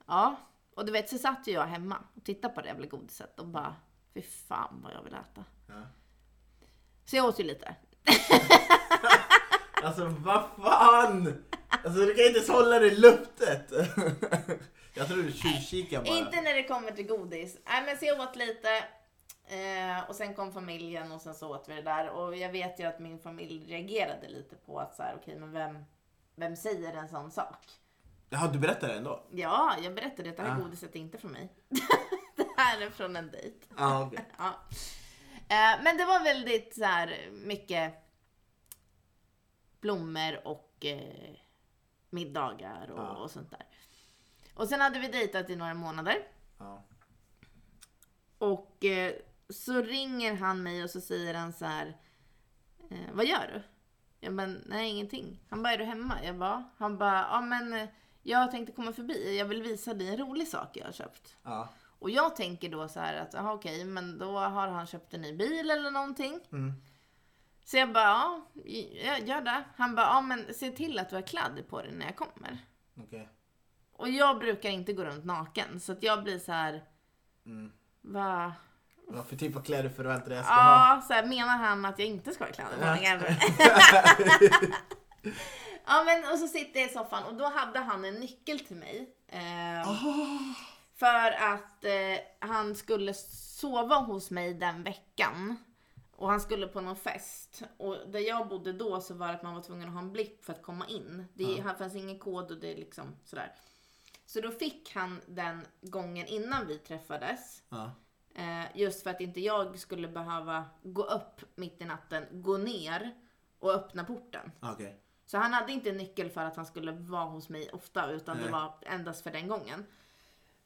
Speaker 1: Ja. Och du vet, så satt ju jag hemma och tittade på det jävla godiset och bara... Fy fan vad jag vill äta.
Speaker 2: Ja.
Speaker 1: Så jag åt ju lite.
Speaker 2: Alltså vad fan! Alltså du kan inte ens hålla det i luftet! Jag tror du tjuvkikar bara.
Speaker 1: Inte när det kommer till godis. Nej men så jag åt lite. Eh, och sen kom familjen och sen så åt vi det där. Och jag vet ju att min familj reagerade lite på att så här, okej men vem, vem säger en sån sak?
Speaker 2: Jaha, du berättar det ändå?
Speaker 1: Ja, jag berättade att det här
Speaker 2: Ah.
Speaker 1: godiset är inte från mig. det här är från en dejt.
Speaker 2: Ja, Ah, okej.
Speaker 1: Ja. Eh, Men det var väldigt så här mycket blommor och eh, middagar och,
Speaker 2: Ja.
Speaker 1: och sånt där. Och sen hade vi dejtat i några månader.
Speaker 2: Ja.
Speaker 1: Och eh, så ringer han mig och så säger han så här. Eh, vad gör du? Jag bara, nej ingenting. Han bara, är du hemma? Jag bara, han bara, ja men eh, jag tänkte komma förbi. Jag vill visa dig en rolig sak jag har köpt.
Speaker 2: Ja.
Speaker 1: Och jag tänker då så här att, aha, okej, men då har han köpt en ny bil eller någonting.
Speaker 2: Mm.
Speaker 1: Så jag bara, ja, jag gör det. Han bara, ja men se till att du har kläder på dig när jag kommer.
Speaker 2: Okej.
Speaker 1: Och jag brukar inte gå runt naken, så att jag blir så här,
Speaker 2: Mm.
Speaker 1: va?
Speaker 2: Vad för typ av kläder förväntar dig jag ska ha?
Speaker 1: Ja, så här, menar han att jag inte ska ha kläder på mig kanske? Ja men och så sitter jag i soffan och då hade han en nyckel till mig. Eh, För att eh, han skulle sova hos mig den veckan. Och han skulle på någon fest. Och där jag bodde då så var det att man var tvungen att ha en blipp för att komma in. Det här fanns ingen kod och det är liksom sådär. Så då fick han den gången innan vi träffades.
Speaker 2: Ja.
Speaker 1: Eh, just för att inte jag skulle behöva gå upp mitt i natten, gå ner och öppna porten.
Speaker 2: Ah, Okej.
Speaker 1: Så han hade inte nyckel för att han skulle vara hos mig ofta utan
Speaker 2: Nej.
Speaker 1: det var endast för den gången.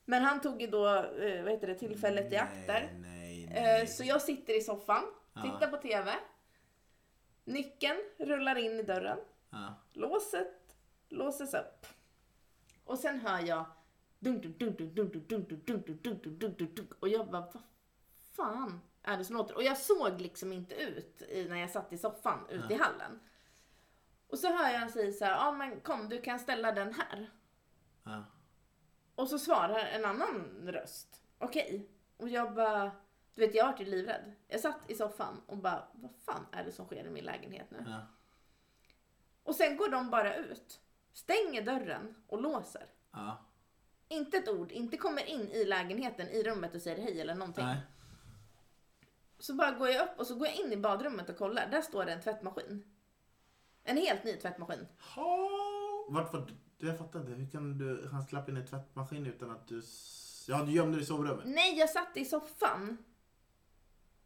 Speaker 1: Men han tog ju då eh, vad heter det, tillfället i akt
Speaker 2: Nej,
Speaker 1: där.
Speaker 2: nej,
Speaker 1: Eh,
Speaker 2: nej.
Speaker 1: Så jag sitter i soffan,
Speaker 2: Ja.
Speaker 1: tittar på TV. Nyckeln rullar in i dörren.
Speaker 2: Ja.
Speaker 1: Låset låses upp. Och sen hör jag dunk, dunk, dunk, dunk, dunk, dunk, dunk, dunk, dunk, dunk, dunk, dunk, dunk, dunk. Och jag bara, vad fan är det som låter? Och jag såg liksom inte ut i, när jag satt i soffan ute i hallen. Och så hör jag han säga så här, ja men kom du kan ställa den här.
Speaker 2: Ja.
Speaker 1: Och så svarar en annan röst, okej. Och jag bara, du vet jag vart ju livrädd. Jag satt i soffan och bara, vad fan är det som sker i min lägenhet nu?
Speaker 2: Ja.
Speaker 1: Och sen går de bara ut, stänger dörren och låser.
Speaker 2: Ja.
Speaker 1: Inte ett ord, inte kommer in i lägenheten, i rummet och säger hej eller någonting.
Speaker 2: Nej.
Speaker 1: Så bara går jag upp och så går jag in i badrummet och kollar. Där står det en tvättmaskin. En helt ny tvättmaskin.
Speaker 2: Ha. Vart var du? Jag fattar inte. Hur kan du? Han slapp in i tvättmaskin utan att du... s- Ja, du gömde dig i sovrummet.
Speaker 1: Nej, jag satt i soffan.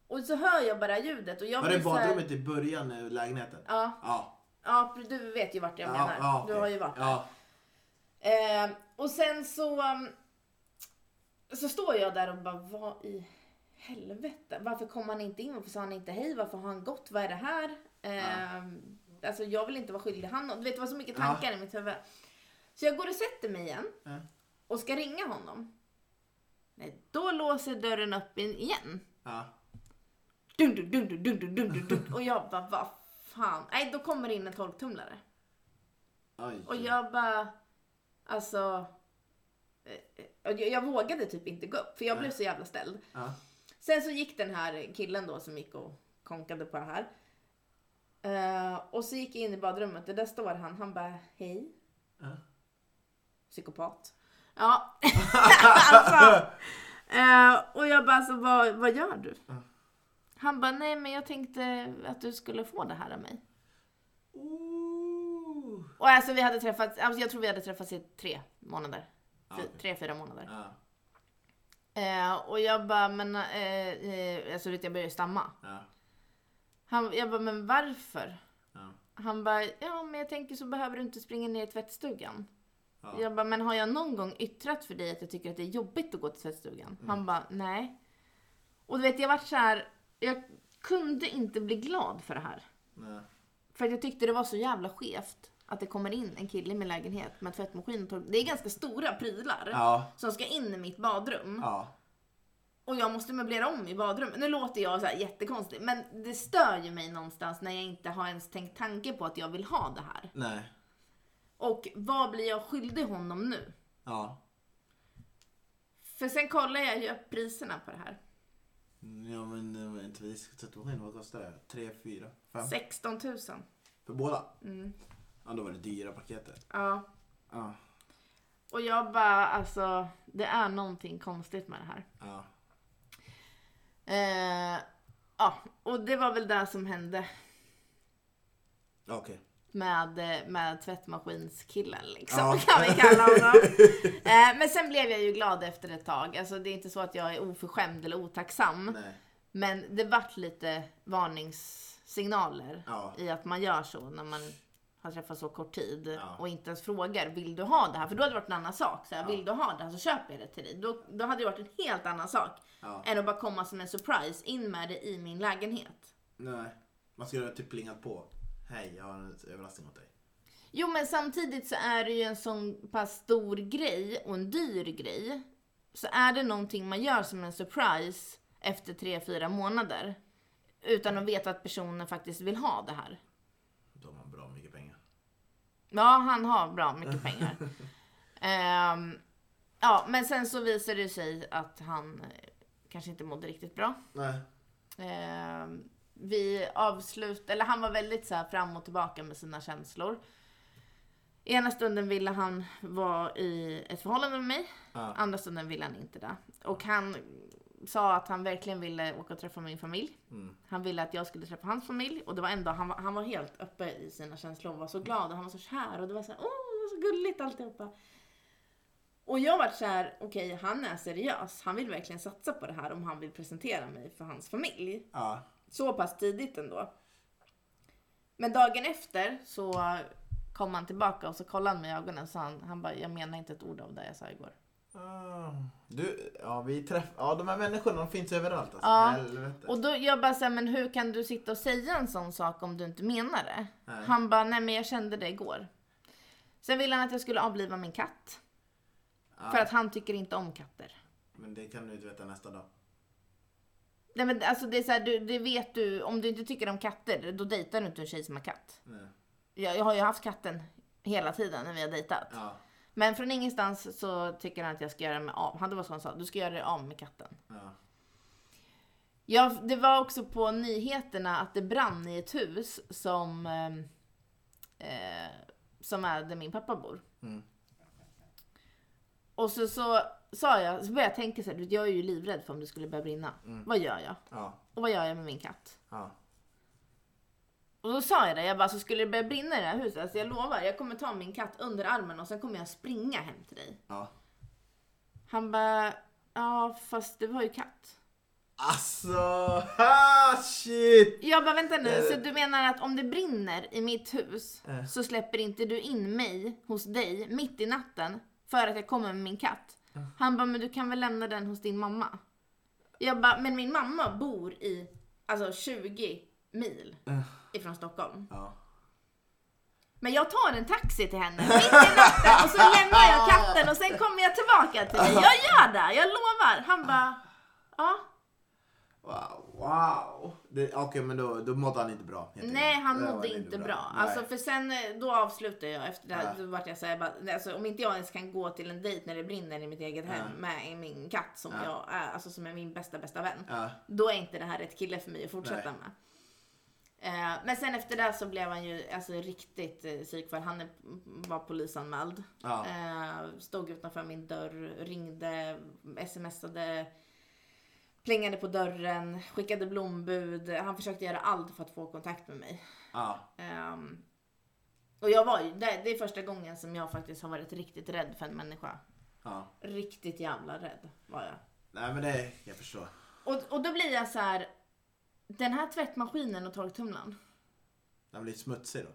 Speaker 1: Och så hör jag bara ljudet och jag
Speaker 2: Var det
Speaker 1: så här-
Speaker 2: badrummet i början i lägenheten?
Speaker 1: Ja,
Speaker 2: Ja.
Speaker 1: ja, du vet ju vart jag menar. Du
Speaker 2: okej.
Speaker 1: har ju varit
Speaker 2: Ja.
Speaker 1: Eh, och sen så, um, så står jag där och bara, vad i helvete? Varför kom han inte in? Varför sa han inte hej? Varför har han gått? Vad är det här? Eh, Alltså jag vill inte vara skyldig han något. Du vet det var så mycket
Speaker 2: Ja.
Speaker 1: tankar i mitt huvud. Så jag går och sätter mig igen
Speaker 2: Ja.
Speaker 1: och ska ringa honom. Nej, då låser dörren upp in igen.
Speaker 2: Ja.
Speaker 1: Dun, dun, dun, dun, dun, dun, dun, dun. Och jag bara, vad fan. Nej, då kommer det in en torktumlare.
Speaker 2: Oj.
Speaker 1: Och jag bara, alltså. eh, Jag, jag vågade typ inte gå upp för jag blev så jävla ställd.
Speaker 2: Ja.
Speaker 1: Sen så gick den här killen då som gick och konkade på det här. Eh, och så gick jag in i badrummet och där står han. Han bara, hej,
Speaker 2: Ja.
Speaker 1: psykopat. Ja, alltså. Eh, och jag bara, alltså, vad, vad gör du? Han bara, nej men jag tänkte att du skulle få det här av mig.
Speaker 2: Ooh.
Speaker 1: Och alltså vi hade träffats, alltså, jag tror vi hade träffats i tre månader.
Speaker 2: Ja,
Speaker 1: Fy-
Speaker 2: okej.
Speaker 1: Tre, fyra månader.
Speaker 2: Ja.
Speaker 1: Eh, och jag bara, men eh, eh, alltså du vet jag började stamma.
Speaker 2: Ja.
Speaker 1: Han, jag bara, men varför?
Speaker 2: Ja.
Speaker 1: Han bara, ja men jag tänker så behöver du inte springa ner i tvättstugan.
Speaker 2: Ja.
Speaker 1: Jag bara, men har jag någon gång yttrat för dig att jag tycker att det är jobbigt att gå till tvättstugan?
Speaker 2: Mm.
Speaker 1: Han bara, nej. Och du vet jag vart så här, jag kunde inte bli glad för det här.
Speaker 2: Ja.
Speaker 1: Mm. För att jag tyckte det var så jävla skevt att det kommer in en kille i min lägenhet med tvättmaskin och tork. Det är ganska stora prylar
Speaker 2: Ja.
Speaker 1: som ska in i mitt badrum.
Speaker 2: Ja.
Speaker 1: Och jag måste möblera om i badrummet. Nu låter jag så här jättekonstig, men det stör ju mig någonstans när jag inte har ens tänkt tanke på att jag vill ha det här.
Speaker 2: Nej.
Speaker 1: Och vad blir jag skyldig honom nu?
Speaker 2: Ja.
Speaker 1: För sen kollar jag ju upp priserna på det här.
Speaker 2: Ja men eh, vänta, vi ska tvättmaskin, vad kostar det? 3, 4, 5?
Speaker 1: 16 000.
Speaker 2: För båda? Ja då var det dyra paketet.
Speaker 1: Mm. Ja.
Speaker 2: Ja.
Speaker 1: Och jag bara, alltså, det är någonting konstigt med det här.
Speaker 2: Ja.
Speaker 1: Eh, ja, och det var väl det som hände
Speaker 2: Okej.
Speaker 1: med, eh, med tvättmaskinskillen liksom,
Speaker 2: Ja.
Speaker 1: kan vi kalla honom. eh, men sen blev jag ju glad efter ett tag. Alltså det är inte så att jag är oförskämd eller otacksam.
Speaker 2: Nej.
Speaker 1: Men det vart lite varningssignaler
Speaker 2: Ja.
Speaker 1: i att man gör så när man har träffats så kort tid
Speaker 2: Ja.
Speaker 1: och inte ens frågar vill du ha det här? För då hade det varit en annan sak. Så här,
Speaker 2: Ja.
Speaker 1: Vill du ha det här så köper jag det till dig. Då, då hade det varit en helt annan sak
Speaker 2: Ja.
Speaker 1: än att bara komma som en surprise in med det i min lägenhet.
Speaker 2: Nej. Man skulle ha typ plingat på. Hej, jag har en överraskning åt dig.
Speaker 1: Jo men samtidigt så är det ju en sån pass stor grej och en dyr grej. Så är det någonting man gör som en surprise efter tre fyra månader utan att veta att personen faktiskt vill ha det här.
Speaker 2: Då har man bra mycket pengar.
Speaker 1: Ja, han har bra mycket pengar. Ehm, ja, men sen så visade det sig att han eh, kanske inte mådde riktigt bra.
Speaker 2: Nej.
Speaker 1: Ehm, vi avslut, eller han var väldigt så här fram och tillbaka med sina känslor. I ena stunden ville han vara i ett förhållande med mig,
Speaker 2: Ja.
Speaker 1: andra stunden ville han inte det. Och han sa att han verkligen ville åka och träffa min familj.
Speaker 2: Mm.
Speaker 1: Han ville att jag skulle träffa hans familj och det var en dag han var, han var helt uppe i sina känslor och var så glad och han var så kär och det var så här, åh, det var så gulligt alltihopa. Och jag var så här, okej, han är seriös. Han vill verkligen satsa på det här om han vill presentera mig för hans familj
Speaker 2: Ja.
Speaker 1: så pass tidigt ändå. Men dagen efter så kom han tillbaka och så kollade han mig i ögonen och sa han, han bara, jag menar inte ett ord av det jag sa igår.
Speaker 2: Ah. Du, ja vi träffar, ja de här människorna de finns överallt alltså.
Speaker 1: Ja.
Speaker 2: Helvete.
Speaker 1: Och då jag bara såhär, men hur kan du sitta och säga en sån sak om du inte menar det?
Speaker 2: Nej.
Speaker 1: Han bara, nej men jag kände det igår. Sen ville han att jag skulle avliva min katt.
Speaker 2: Ja.
Speaker 1: För att han tycker inte om katter.
Speaker 2: Men det kan du inte veta nästa dag.
Speaker 1: Nej men alltså det är såhär, du- det vet du, om du inte tycker om katter, då dejtar du inte en tjej som har katt.
Speaker 2: Nej.
Speaker 1: Jag, jag har ju haft katten hela tiden när vi har dejtat.
Speaker 2: Ja.
Speaker 1: Men från ingenstans så tycker han att jag ska göra mig av. Han det var så han sa, du ska göra dig av med katten.
Speaker 2: Ja.
Speaker 1: Ja, det var också på nyheterna att det brann i ett hus som, ehm, eh, som är där min pappa bor.
Speaker 2: Mm.
Speaker 1: Och så, så sa jag, så började jag tänka så här, du, jag är ju livrädd för om det skulle börja brinna. Vad gör jag?
Speaker 2: Ja.
Speaker 1: Och vad gör jag med min katt?
Speaker 2: Ja.
Speaker 1: Och då sa jag det, jag bara, så skulle det börja brinna i det här huset, alltså jag lovar, jag kommer ta min katt under armen och sen kommer jag springa hem till dig.
Speaker 2: Ja.
Speaker 1: Han bara, ja fast du har ju katt.
Speaker 2: Alltså, ah, shit!
Speaker 1: Jag bara vänta nu,
Speaker 2: Eh.
Speaker 1: så du menar att om det brinner i mitt hus
Speaker 2: Eh.
Speaker 1: så släpper inte du in mig hos dig mitt i natten för att jag kommer med min katt?
Speaker 2: Eh.
Speaker 1: Han bara, men du kan väl lämna den hos din mamma? Jag bara, men min mamma bor i alltså 20 mil
Speaker 2: Eh.
Speaker 1: ifrån Stockholm.
Speaker 2: Ja.
Speaker 1: Men jag tar en taxi till henne mitt i natten och så lämnar jag katten och sen kommer jag tillbaka till dig. Jag gör det, jag lovar. Han bara, ja.
Speaker 2: Wow. wow. Det- Okej, men då, då mådde han inte bra. helt
Speaker 1: Nej,
Speaker 2: enkelt.
Speaker 1: han
Speaker 2: Det var
Speaker 1: mådde inte bra.
Speaker 2: Nej.
Speaker 1: Alltså, för sen eh, då avslutade jag efter det här.
Speaker 2: Nej.
Speaker 1: Då vart jag så här, bara, nej, alltså, om inte jag ens kan gå till en dejt när det brinner i mitt eget hem med min katt som
Speaker 2: Nej.
Speaker 1: jag är, alltså som är min bästa bästa vän.
Speaker 2: Ja.
Speaker 1: Då är inte det här rätt kille för mig att fortsätta
Speaker 2: Nej.
Speaker 1: med. Eh, Men sen efter det så blev han ju alltså, riktigt eh, psykfall. Han är, var polisanmäld.
Speaker 2: Ja.
Speaker 1: Eh, Stod utanför min dörr, ringde, smsade, plingade på dörren, skickade blombud. Han försökte göra allt för att få kontakt med mig.
Speaker 2: ja.
Speaker 1: Ehm, och jag var ju, det, det är första gången som jag faktiskt har varit riktigt rädd för en människa.
Speaker 2: Ja.
Speaker 1: Riktigt jävla rädd var jag.
Speaker 2: Nej, men det jag förstår.
Speaker 1: Och, och då blir jag så här. den här tvättmaskinen och torktumlaren.
Speaker 2: Den blir smutsig då.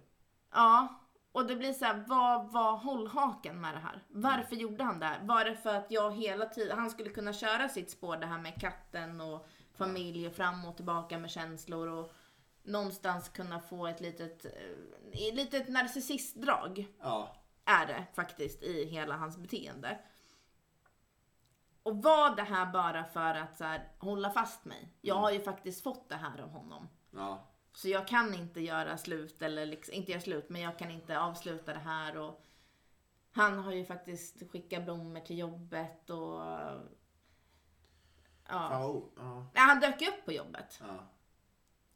Speaker 1: Ja, och det blir så här, vad var hållhaken med det här? Varför gjorde han det här? Var det för att jag hela tiden, han skulle kunna köra sitt spår det här med katten och familj och fram och tillbaka med känslor och någonstans kunna få ett litet, eh, ett litet narcissistdrag.
Speaker 2: Ja.
Speaker 1: är det faktiskt i hela hans beteende. Och var det här bara för att så här, hålla fast mig? Jag har ju faktiskt fått det här av honom.
Speaker 2: Ja.
Speaker 1: Så jag kan inte göra slut, eller liksom, inte göra slut, men jag kan inte avsluta det här. Och han har ju faktiskt skickat blommor till jobbet och... Ja.
Speaker 2: Fan, vad o- ja.
Speaker 1: Nej, han dök ju upp på jobbet.
Speaker 2: Ja.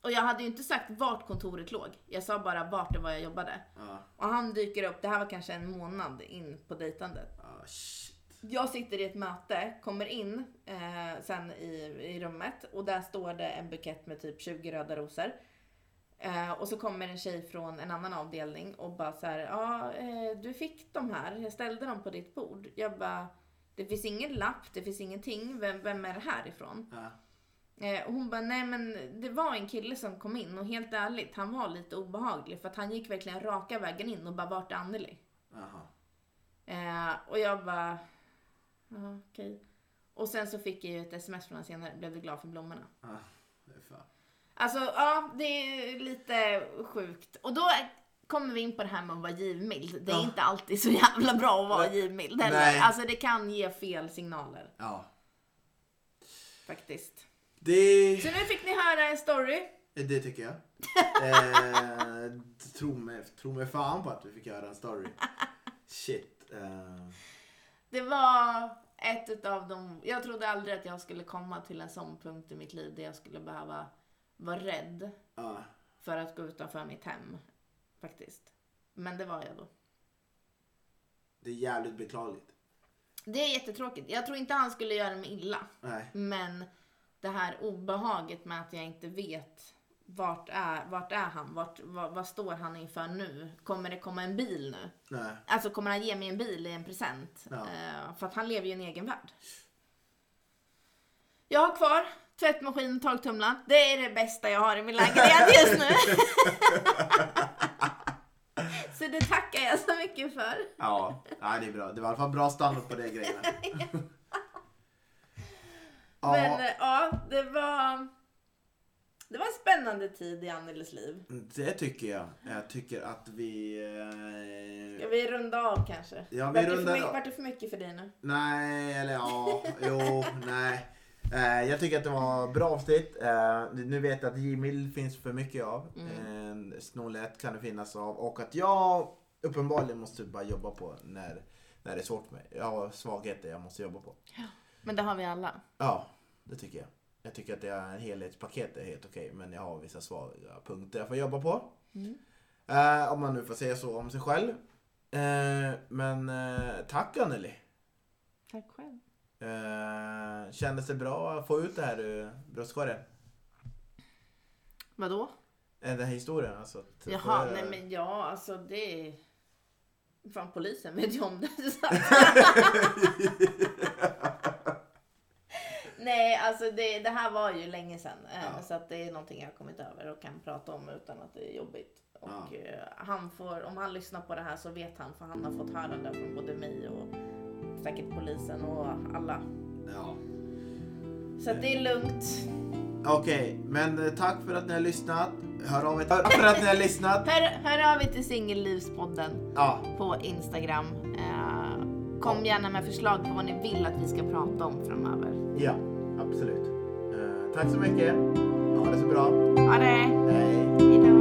Speaker 1: Och jag hade ju inte sagt vart kontoret låg. Jag sa bara vart det var jag jobbade.
Speaker 2: Ja.
Speaker 1: Och han dyker upp, det här var kanske en månad in på dejtandet.
Speaker 2: Ja. Shit.
Speaker 1: Jag sitter i ett möte, kommer in eh, sen i, i rummet och där står det en bukett med typ 20 röda rosor. Eh, och så kommer en tjej från en annan avdelning och bara så här, ja eh, du fick de här, jag ställde dem på ditt bord. Jag bara, det finns ingen lapp, det finns ingenting, vem, vem är det här ifrån?
Speaker 2: Ja.
Speaker 1: Eh, och hon bara, nej men det var en kille som kom in och helt ärligt, han var lite obehaglig för att han gick verkligen raka vägen in och bara, vart är Anneli?
Speaker 2: Aha.
Speaker 1: Eh, och jag bara, ja okej. Och sen så fick jag ju ett sms från honom senare, blev du glad för blommorna?
Speaker 2: Ah, det är fan.
Speaker 1: Alltså ja, det är lite sjukt. Och då kommer vi in på det här med att vara givmild. Det är
Speaker 2: Ja.
Speaker 1: inte alltid så jävla bra att vara
Speaker 2: Nej.
Speaker 1: givmild heller.
Speaker 2: Nej.
Speaker 1: Alltså det kan ge fel signaler
Speaker 2: Ja.
Speaker 1: faktiskt.
Speaker 2: Det...
Speaker 1: Så nu fick ni höra en story.
Speaker 2: Det tycker jag. eh, tro, mig, tro mig fan på att vi fick göra en story. Shit. Eh,
Speaker 1: Det var ett utav de... Jag trodde aldrig att jag skulle komma till en sån punkt i mitt liv där jag skulle behöva vara rädd
Speaker 2: ja.
Speaker 1: för att gå utanför mitt hem. Faktiskt. Men det var jag då.
Speaker 2: det är jävligt beklagligt.
Speaker 1: Det är jättetråkigt. Jag tror inte han skulle göra mig illa.
Speaker 2: Nej.
Speaker 1: Men det här obehaget med att jag inte vet vart är, vart är han? Vart, vad, vad står han inför nu? Kommer det komma en bil nu?
Speaker 2: Nej.
Speaker 1: Alltså kommer han ge mig en bil i en present?
Speaker 2: Ja.
Speaker 1: Eh, för att han lever ju i en egen värld. Jag har kvar tvättmaskin och torktumlaren. Det är det bästa jag har i min lägenhet just nu. Så det tackar jag så mycket för.
Speaker 2: Ja. Nej, det är bra. Det var i alla fall bra standard på de grejerna. ja.
Speaker 1: Men eh, ja, det var... Det var en spännande tid i Annelies liv.
Speaker 2: Det tycker jag. Jag tycker att vi... eh,
Speaker 1: Ska vi runda av kanske?
Speaker 2: Ja, vi
Speaker 1: vart, det för
Speaker 2: rundar
Speaker 1: mycket,
Speaker 2: av.
Speaker 1: vart det för mycket för dig nu?
Speaker 2: Nej, eller ja, jo, nej. Eh, jag tycker att det var bra avsnitt. Eh, nu vet jag att Gmail finns för mycket av. Eh, Snålhet kan det finnas av. Och att jag uppenbarligen måste bara jobba på när, när det är svårt för mig. Jag har svagheter jag måste jobba på.
Speaker 1: Men det har vi alla.
Speaker 2: Ja, det tycker jag. Jag tycker att det är en helhetspaket är helt okej. men jag har vissa svaga punkter jag får jobba på. Eh, om man nu får säga så om sig själv. Eh, men eh, tack Anneli.
Speaker 3: Tack själv.
Speaker 2: Eh, kändes det bra att få ut det här ur bröstkorgen?
Speaker 3: Vadå?
Speaker 2: Eh, Den här historien alltså. att-
Speaker 1: Jaha, nej men ja, alltså det... är- Fan, polisen vet ju om det. så. nej, alltså det, det här var ju länge sedan. eh,
Speaker 2: Ja.
Speaker 1: Så att det är någonting jag har kommit över och kan prata om utan att det är jobbigt. Och
Speaker 2: Ja.
Speaker 1: eh, han får, om han lyssnar på det här så vet han för han har fått höra det från både mig och säkert polisen och alla.
Speaker 2: Ja.
Speaker 1: Så att det är lugnt.
Speaker 2: Okej, men eh, tack för att ni har lyssnat. Hör av er. Tack för att ni har lyssnat.
Speaker 3: Hör, hör av er till Singellivspodden
Speaker 2: Ja,
Speaker 3: på Instagram. Eh, kom gärna med förslag på vad ni vill att vi ska prata om framöver.
Speaker 2: ja absolut. Eh, tack så mycket. Ha det så bra.
Speaker 3: Ha det!
Speaker 2: Hej.
Speaker 3: Hejdå!